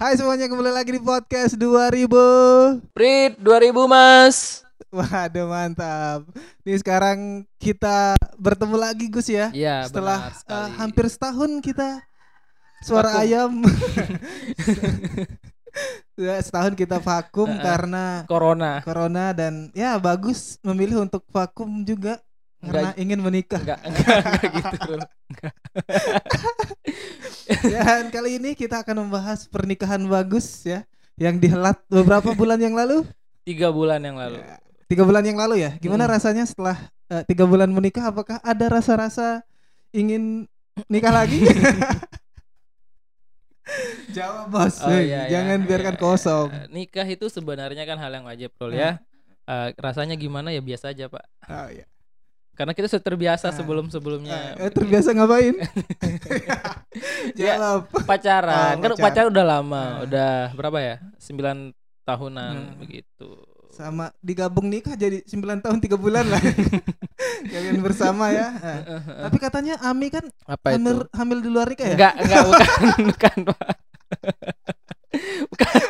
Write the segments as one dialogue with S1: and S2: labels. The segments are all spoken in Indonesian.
S1: Hai semuanya kembali lagi di podcast 2000
S2: Prit 2000 mas
S1: Waduh mantap Nih sekarang kita bertemu lagi Gus ya
S2: Iya
S1: Setelah
S2: benar
S1: eh,
S2: sekali.
S1: hampir setahun kita Suara
S2: Vakum.
S1: ayam Ya, Setahun kita vakum
S2: Heeh.
S1: karena
S2: Corona
S1: Corona dan ya bagus memilih untuk vakum juga Karena
S2: Enggak.
S1: ingin menikah
S2: Enggak, enggak, enggak gitu Rul.
S1: Ya, Dan kali ini kita akan membahas pernikahan bagus ya Yang dihelat beberapa bulan yang lalu
S2: Tiga bulan yang lalu
S1: Ya. Tiga bulan yang lalu ya. Gimana
S2: Mm.
S1: rasanya setelah eh, tiga bulan menikah? Apakah ada rasa-rasa ingin nikah lagi? Jawab bos,
S2: Oh,
S1: Hei,
S2: iya, iya,
S1: jangan
S2: iya,
S1: biarkan
S2: iya.
S1: kosong.
S2: Eh, Nikah itu sebenarnya kan hal yang wajib Rul ya
S1: Nah.
S2: Eh, Rasanya gimana ya biasa aja pak
S1: Oh, iya.
S2: Karena kita sudah terbiasa
S1: Ah.
S2: sebelum-sebelumnya
S1: Eh, terbiasa ngapain?
S2: Ya.
S1: Jawab.
S2: Pacaran
S1: Oh,
S2: Kan
S1: pacar.
S2: pacaran udah lama
S1: Ah.
S2: Udah berapa ya 9 tahunan
S1: Hmm.
S2: begitu
S1: Sama digabung nikah jadi 9 tahun tiga bulan lah. Kalian bersama ya. Eh, Tapi katanya Ami kan
S2: Apa itu?
S1: hamil, hamil di luar nikah ya?
S2: Enggak, enggak, bukan, bukan, Pak. bukan,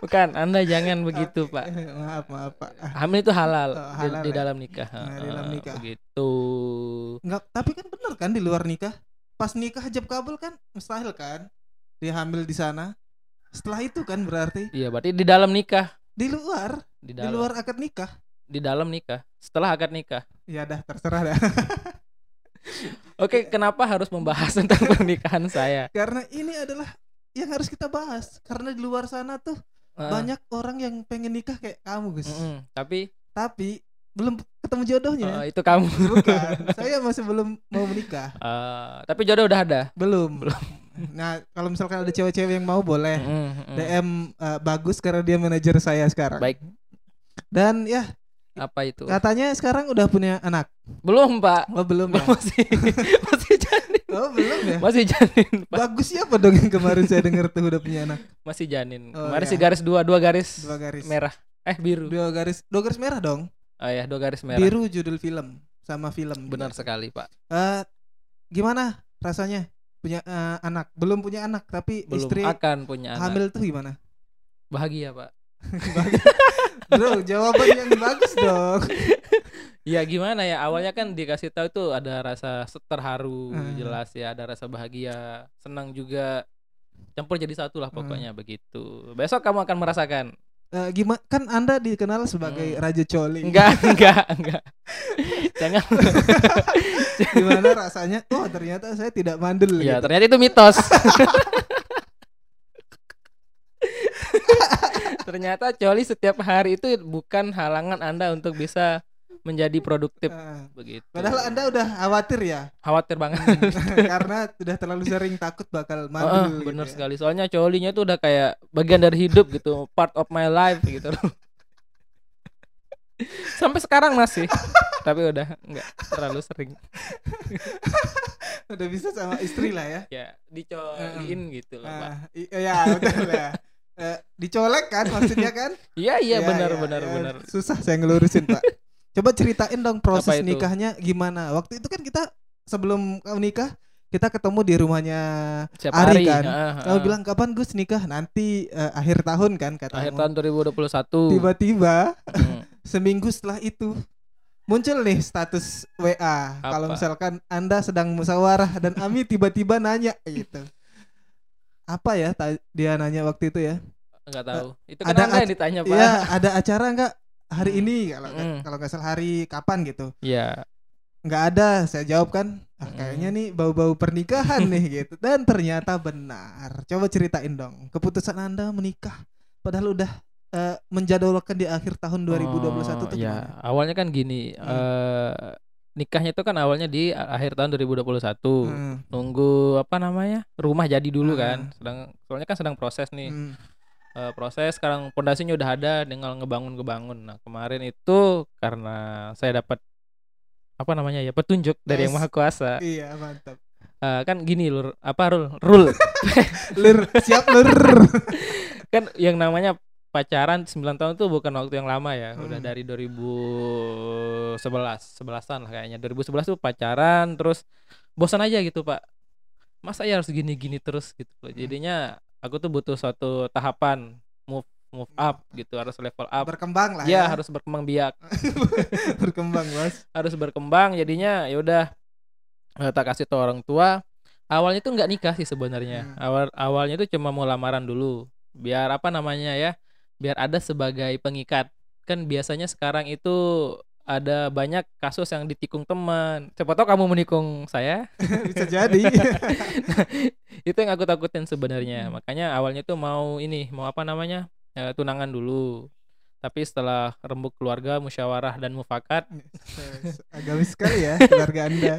S2: bukan. Anda jangan begitu,
S1: Oke,
S2: Pak.
S1: eh, Maaf, maaf, Pak.
S2: Hamil itu halal,
S1: Oh,
S2: di-
S1: halal
S2: di,
S1: ya?
S2: dalam nikah.
S1: Nah, di dalam
S2: Ah,
S1: nikah.
S2: Begitu.
S1: Enggak, tapi kan bener kan di luar nikah. Pas nikah hijab kabul kan mustahil kan? Dia hamil di sana. Setelah itu kan berarti
S2: Iya, berarti di dalam nikah,
S1: di luar, di
S2: di dalam, di,
S1: luar akad nikah.
S2: dalam nikah. Setelah akad nikah.
S1: Ya dah terserah dah. Iya.
S2: Oke, kenapa harus membahas tentang pernikahan saya?
S1: Karena ini adalah yang harus kita bahas karena di luar sana tuh
S2: Ah,
S1: banyak orang yang pengen nikah kayak kamu, Gus.
S2: mm-mm. Tapi
S1: Tapi belum ketemu jodohnya.
S2: eh, itu kamu.
S1: Bukan. Saya masih belum mau menikah.
S2: Eh, tapi jodoh udah ada.
S1: Belum. Nah, kalau misalkan ada cewek-cewek yang mau boleh
S2: Mm-mm, mm-mm.
S1: DM eh, bagus karena dia manajer saya sekarang.
S2: Baik,
S1: Dan ya
S2: apa itu?
S1: Katanya sekarang udah punya anak.
S2: Belum, Pak.
S1: Oh Kan? belum ya?
S2: Masih masih janin.
S1: Oh belum ya?
S2: Masih janin, Pak.
S1: Bagus siapa dong yang kemarin saya dengar tuh udah punya anak
S2: masih janin.
S1: Oh,
S2: Kemarin
S1: iya.
S2: sih garis dua, dua garis,
S1: dua garis.
S2: merah. Eh biru.
S1: Dua garis, dua garis merah dong.
S2: Oh ya, dua garis merah.
S1: Biru judul film sama film.
S2: Benar sekali, Pak.
S1: Eh, gimana rasanya punya eh, anak? Belum punya anak tapi
S2: Belum
S1: istri
S2: akan punya anak.
S1: hamil tuh gimana?
S2: Bahagia, Pak.
S1: Bro, jawaban yang bagus dong.
S2: Ya gimana ya? Awalnya kan dikasih tahu itu ada rasa se- terharu,
S1: Hmm.
S2: jelas ya, ada rasa bahagia, senang juga. Campur jadi satu lah
S1: Hmm.
S2: pokoknya begitu. Besok kamu akan merasakan.
S1: Eh, gimana? Kan Anda dikenal sebagai
S2: Hmm.
S1: raja coli.
S2: Enggak, enggak, enggak. Jangan.
S1: Gimana rasanya? Oh, ternyata saya tidak mandel
S2: ya,
S1: gitu.
S2: ternyata itu mitos. ternyata coli setiap hari itu bukan halangan Anda untuk bisa menjadi produktif
S1: Eh,
S2: begitu.
S1: padahal Anda Hmm. udah khawatir ya.
S2: khawatir banget.
S1: karena sudah terlalu sering takut bakal
S2: Ah,
S1: mandul. gitu
S2: bener
S1: ya.
S2: sekali. Soalnya colinya itu udah kayak bagian dari hidup gitu, part of my life gitu. Sampai sekarang masih. Tapi udah nggak terlalu sering.
S1: Udah bisa sama istri lah ya.
S2: Ya, dicoliin gitu loh, Pak.
S1: Ah, i- ya betul lah. Eh, dicolek kan maksudnya kan?
S2: Iya, iya
S1: Ya,
S2: benar
S1: ya,
S2: benar
S1: ya.
S2: benar.
S1: Susah saya ngelurusin pak. Coba ceritain dong proses
S2: itu?
S1: nikahnya gimana. Waktu itu kan kita sebelum kamu nikah kita ketemu di rumahnya.
S2: Siapa
S1: Ari
S2: hari
S1: kan?
S2: ah, ah.
S1: Kamu bilang kapan Gus nikah? Nanti eh, akhir tahun kan kata
S2: akhir
S1: kamu.
S2: tahun 2021.
S1: Tiba-tiba
S2: Hmm.
S1: seminggu setelah itu muncul nih status WA kalau
S2: Apa?
S1: misalkan Anda sedang musyawarah dan Ami tiba-tiba nanya gitu. Apa ya ta- dia nanya waktu itu ya?
S2: Enggak tahu. Itu
S1: ada
S2: kan Anda
S1: ac-
S2: yang ditanya, Pak. Iya.
S1: Iya, ada acara nggak hari
S2: Hmm.
S1: ini kalau nggak-
S2: Hmm.
S1: kalau nggak salah hari kapan gitu.
S2: Iya.
S1: Nggak ada, saya jawab kan. "Ah, kayaknya
S2: Hmm.
S1: nih bau-bau pernikahan nih gitu. Dan ternyata benar. Coba ceritain dong keputusan Anda menikah padahal udah eh, menjadwalkan di akhir tahun 2021
S2: Oh,
S1: tuh
S2: ya.
S1: gimana?
S2: Awalnya kan gini,
S1: Hmm.
S2: eh, nikahnya itu kan awalnya di a- akhir tahun 2021.
S1: Hmm,
S2: Nunggu apa namanya? Rumah jadi
S1: Ah.
S2: dulu kan. Sedang soalnya kan sedang proses nih.
S1: hmm.
S2: Eh, proses sekarang pondasinya udah ada dengan ngebangun-ngebangun. Nah, kemarin itu karena saya dapat apa namanya ya petunjuk dari yang
S1: Yes.
S2: maha kuasa
S1: Iya, mantap.
S2: Eh, kan gini lur apa rul rule
S1: Lir, siap lir.
S2: kan yang namanya pacaran 9 tahun tuh bukan waktu yang lama ya udah
S1: Hmm.
S2: dari 2011 11-an lah kayaknya 2011 tuh pacaran terus bosan aja gitu pak masa ya harus gini-gini terus gitu loh
S1: Hmm.
S2: jadinya aku tuh butuh suatu tahapan move move up gitu harus level up
S1: berkembang lah ya,
S2: ya harus berkembang biak
S1: berkembang bos
S2: harus berkembang jadinya ya udah eh, tak kasih tau orang tua awalnya tuh nggak nikah sih sebenarnya
S1: Hmm.
S2: awal awalnya tuh cuma mau lamaran dulu biar apa namanya ya biar ada sebagai pengikat kan biasanya sekarang itu ada banyak kasus yang ditikung teman siapa tahu kamu menikung saya
S1: bisa jadi
S2: itu yang aku takutin sebenarnya
S1: Hmm.
S2: makanya awalnya tuh mau ini mau apa namanya eh, tunangan dulu tapi setelah rembuk keluarga musyawarah dan mufakat
S1: agamis sekali ya keluarga anda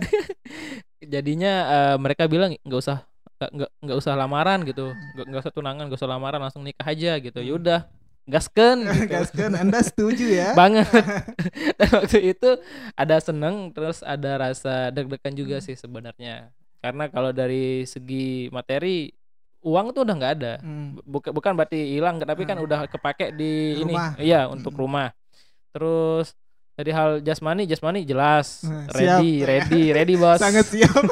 S2: jadinya eh, mereka bilang nggak usah nggak- nggak nggak usah lamaran gitu nggak nggak usah tunangan nggak usah lamaran langsung nikah aja gitu
S1: Hmm.
S2: yaudah gasken gitu.
S1: gaskan anda setuju ya
S2: banget dan waktu itu ada seneng terus ada rasa deg-degan juga
S1: Hmm.
S2: sih sebenarnya karena kalau dari segi materi uang tuh udah nggak ada
S1: Hmm.
S2: bukan bukan berarti hilang tapi
S1: Hmm.
S2: kan udah kepake di
S1: Rumah.
S2: ini iya untuk
S1: Mm.
S2: rumah terus dari hal jasmani jasmani jelas
S1: Hmm,
S2: ready
S1: siap.
S2: ready ready bos
S1: sangat siap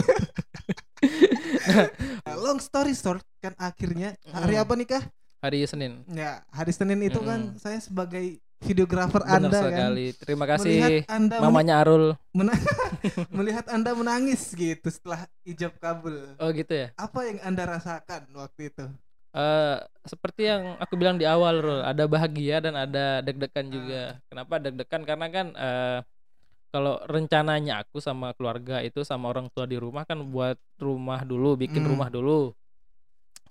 S1: Nah, long story short kan akhirnya hari
S2: Hmm.
S1: apa nikah
S2: hari senin
S1: ya hari senin itu kan
S2: Mm-mm.
S1: saya sebagai videografer
S2: Hmm. benar
S1: anda
S2: sekali terima
S1: kan melihat
S2: kasih
S1: anda men-
S2: mamanya Arul
S1: mena- melihat anda menangis gitu setelah ijab kabul
S2: oh gitu ya
S1: apa yang anda rasakan waktu itu
S2: Eh, seperti yang aku bilang di awal Rul, ada bahagia dan ada deg-degan
S1: Ah.
S2: juga. Kenapa deg-degan? Karena kan eh, kalau rencananya aku sama keluarga itu sama orang tua di rumah kan buat rumah dulu, bikin
S1: Hmm.
S2: rumah dulu.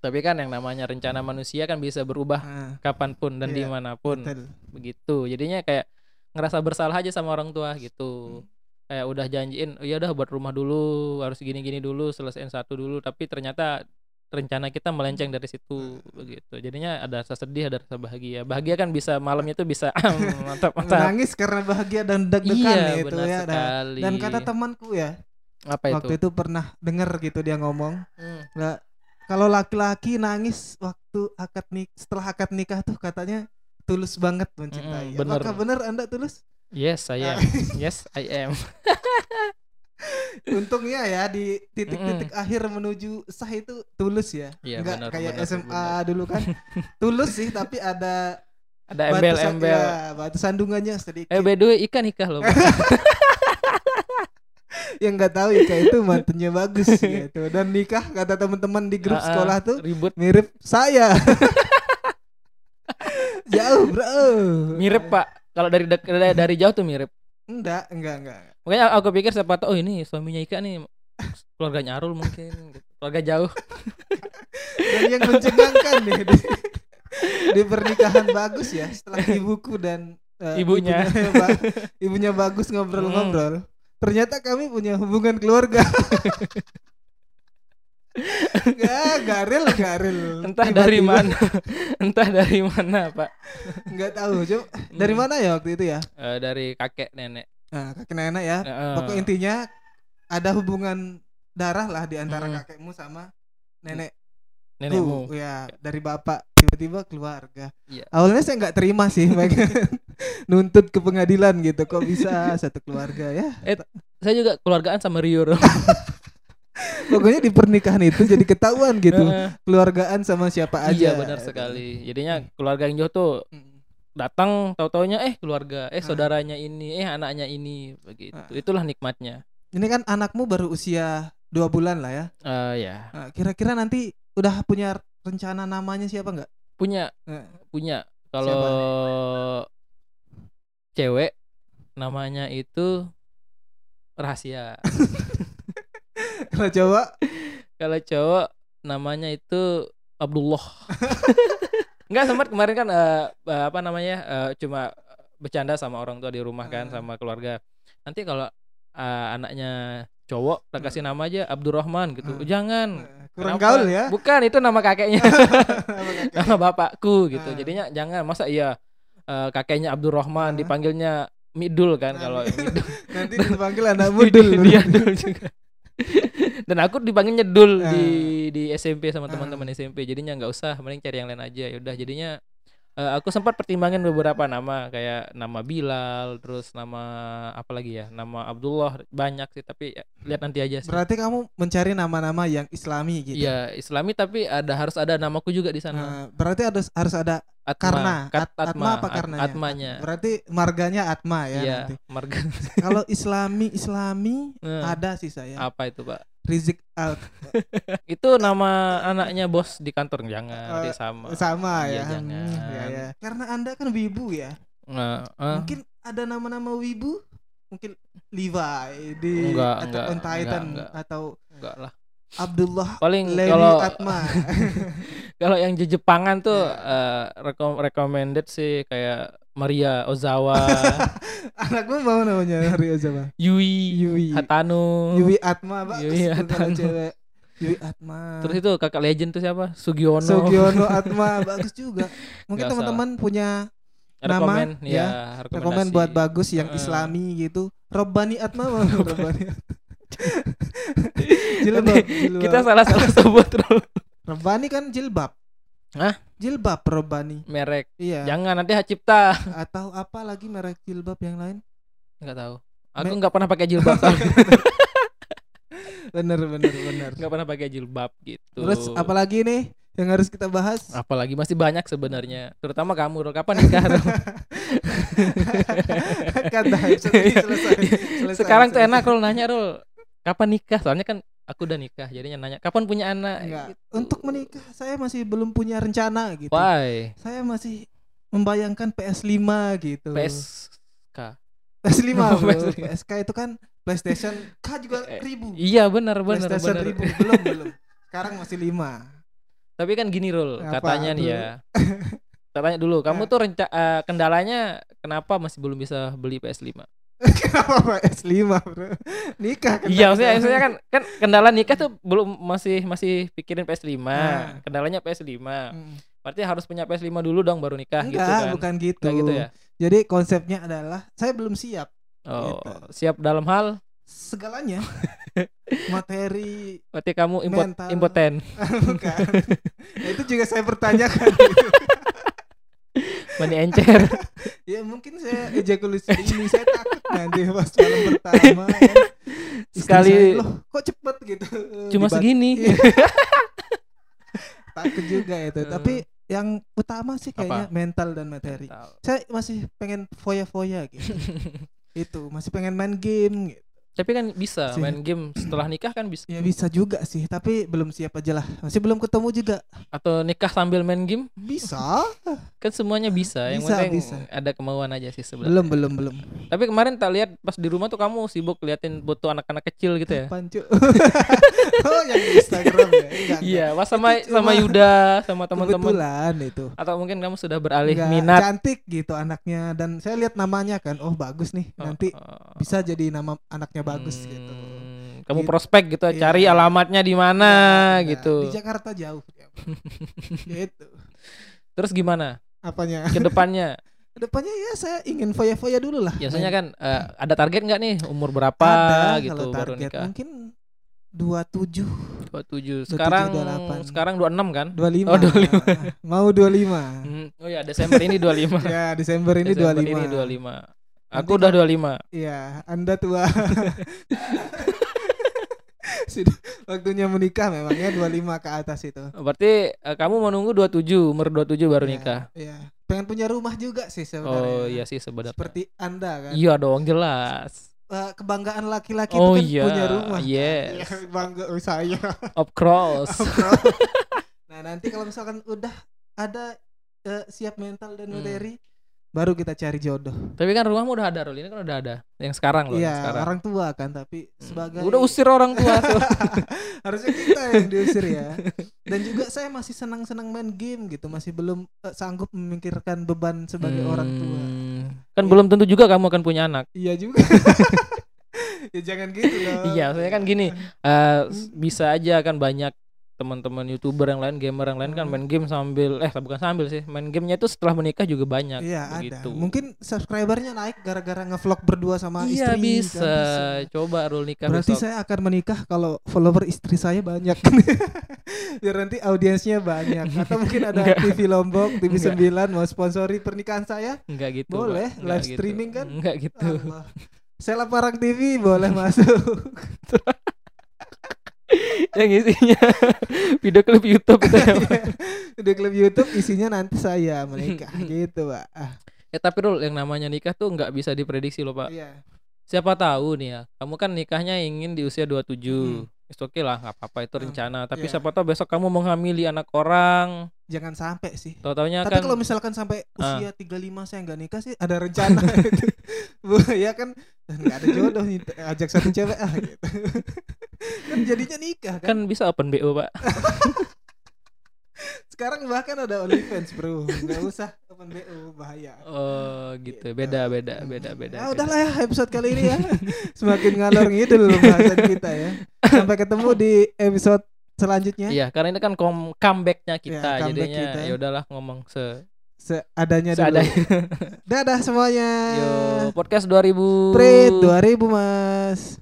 S2: Tapi kan yang namanya rencana manusia kan bisa berubah
S1: Ah,
S2: kapanpun dan
S1: Iya,
S2: dimanapun
S1: betul.
S2: begitu. Jadinya kayak ngerasa bersalah aja sama orang tua
S1: Hmm.
S2: gitu. Kayak udah janjiin, "Oh, ya udah buat rumah dulu, harus gini-gini dulu, selesaiin satu dulu, tapi ternyata rencana kita melenceng dari situ
S1: Hmm.
S2: begitu. Jadinya ada rasa sedih, ada rasa bahagia. Bahagia kan bisa malamnya tuh bisa mantap mantap.
S1: menangis karena bahagia dan deg-degan
S2: Iya,
S1: itu
S2: benar
S1: ya nah.
S2: sekali.
S1: dan kata temanku ya
S2: apa itu?
S1: waktu itu pernah denger gitu dia ngomong
S2: Hmm.
S1: Nah, kalau laki-laki nangis waktu akad nik setelah akad nikah tuh katanya tulus banget mencintai.
S2: Mm-mm, bener. Iya.
S1: Apakah benar Anda tulus? Nah,
S2: Yes, I am. yes, I am.
S1: Untungnya ya di titik-titik akhir menuju sah itu tulus ya.
S2: Iya,
S1: Nggak
S2: benar,
S1: kayak
S2: benar,
S1: SMA
S2: benar.
S1: dulu kan. tulus sih tapi ada
S2: Ada
S1: batasan-
S2: embel-embel.
S1: ya, batu sandungannya sedikit.
S2: Eh by the way ikan nikah loh. Bang.
S1: Yang nggak tahu Ika itu mantunya bagus gitu. Dan nikah kata teman-teman di grup
S2: Ah, ah,
S1: sekolah tuh
S2: ribut
S1: mirip saya. Jauh, Bro.
S2: mirip Pak. Kalau dari dek- dari jauh tuh mirip.
S1: Enggak, enggak, enggak.
S2: Makanya aku pikir siapa tahu oh ini suaminya Ika nih keluarganya Arul mungkin gitu. keluarga jauh.
S1: Dan yang mencengangkan nih di, di pernikahan bagus ya setelah ibuku dan eh,
S2: Ibunya. Hmm.
S1: ibunya, ba- ibunya bagus ngobrol-ngobrol. Ternyata kami punya hubungan keluarga. Gak, gak real, gak real.
S2: Entah
S1: Tiba-tiba
S2: dari mana. Entah dari mana, Pak.
S1: Nggak tahu. Cuma, dari
S2: Hmm.
S1: mana ya waktu itu ya?
S2: Eh, dari kakek nenek.
S1: Nah, kaki nenek ya.
S2: Heeh.
S1: Pokok intinya ada hubungan darah lah di antara
S2: Hmm.
S1: kakekmu sama nenek
S2: nenekmu.
S1: Tuh, ya dari bapak tiba-tiba keluarga.
S2: Iya.
S1: Awalnya saya nggak terima sih, mereka nuntut ke pengadilan gitu. Kok bisa satu keluarga ya?
S2: Saya juga keluargaan sama Rio. Rul.
S1: Pokoknya di pernikahan itu jadi ketahuan gitu,
S2: Heeh.
S1: keluargaan sama siapa aja. gitu. Hmm.
S2: Iya benar sekali. Jadinya keluarga yang jauh tuh
S1: Mm.
S2: datang tahu-taunya eh keluarga, eh
S1: Ah.
S2: saudaranya ini, eh anaknya ini begitu.
S1: Ah.
S2: Itulah nikmatnya.
S1: Ini kan anakmu baru usia dua bulan lah ya.
S2: Eh ya,
S1: Nah, Kira-kira nanti udah punya rencana namanya siapa nggak?
S2: punya
S1: Eh.
S2: punya kalau cewek namanya itu rahasia.
S1: Kalau Jawa
S2: Kalau cowok namanya itu Abdullah. Enggak sempat kemarin kan eh, eh, apa namanya eh, cuma bercanda sama orang tua di rumah kan
S1: Hmm.
S2: sama keluarga. Nanti kalau eh, anaknya cowok tak kasih nama aja Abdurrahman gitu.
S1: Hmm.
S2: Jangan.
S1: eh, kurang
S2: Kenapa?
S1: gaul ya.
S2: Bukan itu nama kakeknya,
S1: Apa kakek?
S2: nama bapakku gitu.
S1: Hmm.
S2: Jadinya jangan masa iya eh, kakeknya Abdurrahman
S1: Hmm.
S2: dipanggilnya Midul kan kalau
S1: Hmm.
S2: Midul.
S1: Nanti dipanggil anak
S2: Dia-
S1: mudul.
S2: dia dul juga dan aku dipanggilnya dul di di SMP sama
S1: Ah.
S2: teman-teman SMP jadinya nggak usah mending cari yang lain aja ya udah jadinya Eh, aku sempat pertimbangin beberapa nama kayak nama Bilal, terus nama apa lagi ya? Nama Abdullah banyak sih, tapi ya, lihat nanti aja sih.
S1: Berarti kamu mencari nama-nama yang Islami gitu.
S2: Iya, Islami tapi ada harus ada namaku juga di sana.
S1: Nah, berarti ada harus ada
S2: Atma.
S1: karena
S2: Kat-
S1: At- Atma apa
S2: At-
S1: karenanya?
S2: Atmanya.
S1: berarti marganya Atma ya
S2: Iya,
S1: nanti.
S2: marga.
S1: Kalau Islami Islami
S2: Eh,
S1: ada sih saya.
S2: Apa itu, Pak?
S1: Rizik Al
S2: Itu nama anaknya bos di kantor jangan,
S1: Eh,
S2: nanti sama.
S1: sama ya.
S2: Iya,
S1: Hmm,
S2: jangan.
S1: ya, ya. Karena Anda kan wibu ya.
S2: Nah, eh,
S1: Mungkin ada nama-nama wibu? Mungkin Levi di
S2: Enggak,
S1: Attack
S2: enggak,
S1: on
S2: enggak,
S1: Titan
S2: enggak.
S1: atau
S2: enggak lah.
S1: Abdullah
S2: Paling
S1: Levi
S2: kalau
S1: Atma.
S2: kalau yang Je- Jepangan tuh
S1: Iya.
S2: eh, rekom- recommended sih kayak Maria Ozawa,
S1: Anak gue mau namanya Rio Zaba.
S2: Yui,
S1: Yui.
S2: Hatano.
S1: Yui Atma, Pak.
S2: Yui Atma.
S1: cewek. Yui Atma.
S2: Terus itu kakak legend tuh siapa? Sugiono.
S1: Sugiono Atma bagus juga. Mungkin
S2: Nggak
S1: teman-teman punya
S2: Rekomen,
S1: Nama,
S2: ya, rekomendasi.
S1: rekomend buat bagus yang
S2: Heeh.
S1: Islami gitu. Robbani Atma mau Robbani. Atma. jilbab,
S2: Nanti
S1: jilbab.
S2: Kita salah-salah sebut terus
S1: Robbani kan jilbab.
S2: Hah? Ya.
S1: Jilbab Robbani.
S2: merek.
S1: Iya.
S2: Jangan nanti hak cipta.
S1: Atau apa lagi merek jilbab yang lain?
S2: Enggak tahu. Aku
S1: Me-
S2: nggak pernah pakai jilbab.
S1: Bener, bener, bener.
S2: Enggak pernah pakai jilbab gitu.
S1: Terus apalagi nih yang harus kita bahas?
S2: Apalagi masih banyak sebenarnya. Terutama kamu, Rul. kapan nikah? Rul?
S1: Kata selesai, selesai.
S2: Iya. Sekarang tuh
S1: selesai.
S2: enak Rul nanya Rul, kapan nikah? Soalnya kan aku udah nikah, jadinya nanya kapan punya anak.
S1: Enggak.
S2: Gitu.
S1: Untuk menikah saya masih belum punya rencana gitu.
S2: Why?
S1: Saya masih membayangkan PS5 gitu.
S2: PSK.
S1: PS5
S2: Oh,
S1: bro.
S2: PS5.
S1: PSK itu kan PlayStation K juga
S2: Eh,
S1: ribu.
S2: Iya benar benar
S1: PlayStation
S2: benar.
S1: ribu belum belum. Sekarang masih 5.
S2: Tapi kan gini
S1: Apa,
S2: Rul,
S1: Nah.
S2: katanya nih
S1: Rul?
S2: ya. Katanya dulu, kamu tuh renca eh, kendalanya kenapa masih belum bisa beli PS5?
S1: Kenapa PS5 bro? Nikah kan.
S2: Iya, maksudnya, maksudnya kan kan kendala nikah tuh belum masih masih pikirin PS5.
S1: Nah.
S2: Kendalanya PS5. Berarti harus punya PS5 dulu dong baru nikah
S1: Mm. Enggak,
S2: gitu kan.
S1: bukan gitu.
S2: Kayak gitu ya.
S1: Jadi konsepnya adalah saya belum siap
S2: Oh,
S1: Gitu.
S2: siap dalam hal
S1: segalanya. Materi
S2: berarti kamu impot
S1: Mental.
S2: impoten.
S1: bukan. Nah, itu juga saya pertanyakan. gitu.
S2: Mani encer.
S1: Ya mungkin saya ejakulasi ini saya takut nanti pas malam pertama. kan. Istri
S2: Sekali-
S1: saya, loh kok cepet gitu.
S2: Cuma
S1: Dibat-
S2: segini.
S1: Takut juga itu.
S2: Eh.
S1: Tapi yang utama sih kayaknya mental dan materi.
S2: Mental.
S1: Saya masih pengen foya-foya gitu. itu masih pengen main game gitu.
S2: Tapi kan bisa
S1: Sih.
S2: main game setelah nikah kan bisa.
S1: Ya bisa juga sih, tapi belum siap aja lah. Masih belum ketemu juga.
S2: Atau nikah sambil main game
S1: Bisa?
S2: kan semuanya bisa. Yang
S1: Bisa,
S2: penting
S1: bisa.
S2: ada kemauan aja sih sebenarnya.
S1: belum, belum, belum.
S2: Tapi kemarin tak lihat pas di rumah tuh kamu sibuk liatin foto anak-anak kecil gitu ya.
S1: Pancu. oh, yang di Instagram ya. Enggak, enggak.
S2: Iya, wah sama
S1: Itu cuma
S2: sama Yuda, sama teman-teman.
S1: Kebetulan itu.
S2: Atau mungkin kamu sudah beralih
S1: Nggak,
S2: minat.
S1: Cantik gitu anaknya dan saya lihat namanya kan, oh bagus nih. Nanti
S2: Oh,
S1: bisa jadi nama anaknya bagus gitu.
S2: hmm, Kamu
S1: Gitu.
S2: prospek gitu,
S1: Iya.
S2: cari alamatnya di mana
S1: Nah,
S2: gitu.
S1: Di Jakarta jauh. ya. gitu.
S2: Terus gimana
S1: Apanya?
S2: ke depannya?
S1: Kedepannya ya saya ingin foya-foya dulu lah.
S2: Biasanya
S1: Main-
S2: kan eh, ada target nggak nih umur berapa
S1: ada
S2: gitu
S1: kalau
S2: baru
S1: target
S2: nikah?
S1: mungkin 27 27,
S2: 27. Sekarang
S1: 28.
S2: sekarang 26 kan?
S1: 25.
S2: Oh, 25.
S1: Nah, mau 25.
S2: Hmm, Oh ya Desember ini 25.
S1: ya, Desember ini
S2: Desember
S1: 25.
S2: ini 25. Aku
S1: Nanti
S2: udah
S1: kalau-
S2: 25.
S1: Iya, Anda tua. Sudah waktunya menikah memangnya 25 ke atas itu.
S2: Berarti eh, kamu menunggu 27, umur 27 baru
S1: Iya,
S2: nikah.
S1: Iya. Pengen punya rumah juga sih sebenarnya. ya.
S2: Oh iya sih sebenarnya.
S1: Seperti Anda kan.
S2: Iya dong jelas.
S1: Eh, kebanggaan laki-laki
S2: Oh
S1: itu kan
S2: iya,
S1: punya rumah. kan?
S2: yes.
S1: Iya, bangga oh, saya.
S2: Of course.
S1: nah, nanti kalau misalkan udah ada eh, siap mental dan
S2: Hmm.
S1: materi baru kita cari jodoh.
S2: Tapi kan rumahmu udah ada, Rul. Ini kan udah ada. Yang sekarang loh,
S1: Iya,
S2: yang sekarang.
S1: orang tua kan tapi
S2: Hmm.
S1: sebagai
S2: Udah usir orang tua. tuh.
S1: harusnya kita yang diusir ya dan juga saya masih senang-senang main game gitu masih belum eh, sanggup memikirkan beban sebagai orang tua
S2: Hmm. Kan belum tentu juga kamu akan punya anak.
S1: iya juga ya jangan gitu dong
S2: Iya, maksudnya kan gini, eh, s- bisa aja kan banyak teman-teman youtuber yang lain gamer yang lain kan main game sambil eh bukan sambil sih main gamenya itu setelah menikah juga banyak
S1: Iya ada.
S2: begitu.
S1: Mungkin subscribernya naik gara-gara ngevlog berdua sama
S2: iya
S1: istri.
S2: bisa.
S1: kan
S2: coba rule nikah
S1: Berarti
S2: besok.
S1: saya akan menikah kalau follower istri saya banyak. Biar nanti audiensnya banyak. Atau mungkin ada
S2: Enggak.
S1: TV Lombok, TV
S2: Enggak.
S1: 9 mau sponsori pernikahan saya.
S2: enggak gitu
S1: Boleh,
S2: Pak. Enggak
S1: live
S2: gitu.
S1: streaming kan?
S2: enggak gitu
S1: Allah. Sela Parang TV boleh masuk.
S2: yang isinya video klip YouTube gitu ya, Pak.
S1: Udah klub YouTube isinya nanti saya menikah gitu, Pak. Ah,
S2: ya tapi rule yang namanya nikah tuh nggak bisa diprediksi loh pak
S1: iya.
S2: siapa tahu nih ya kamu kan nikahnya ingin di usia 27
S1: Mm.
S2: It's okay lah nggak apa-apa itu
S1: Mm,
S2: rencana tapi
S1: iya.
S2: siapa tahu besok kamu menghamili anak orang
S1: Jangan sampai sih.
S2: tau taunya
S1: Tapi
S2: kan
S1: kalau misalkan sampai
S2: Ah.
S1: usia 35 saya nggak nikah sih ada rencana gitu. Bu, ya kan nggak ada jodoh nih ajak satu cewek ah gitu. kan jadinya nikah kan.
S2: kan bisa open bo pak
S1: Sekarang bahkan ada OnlyFans, Bro. Nggak usah open BO bahaya.
S2: oh gitu beda beda beda beda
S1: Ya
S2: beda.
S1: udahlah ya episode kali ini ya. Semakin ngalor ngidul pembahasan kita ya. Sampai ketemu di episode selanjutnya.
S2: Iya, karena ini kan kom- comebacknya kita,
S1: ya. comeback
S2: jadinya
S1: kita.
S2: ya udahlah ngomong se
S1: Seadanya dulu.
S2: seadanya.
S1: Dadah semuanya.
S2: Yo, podcast 2000.
S1: Prit 2000 Mas.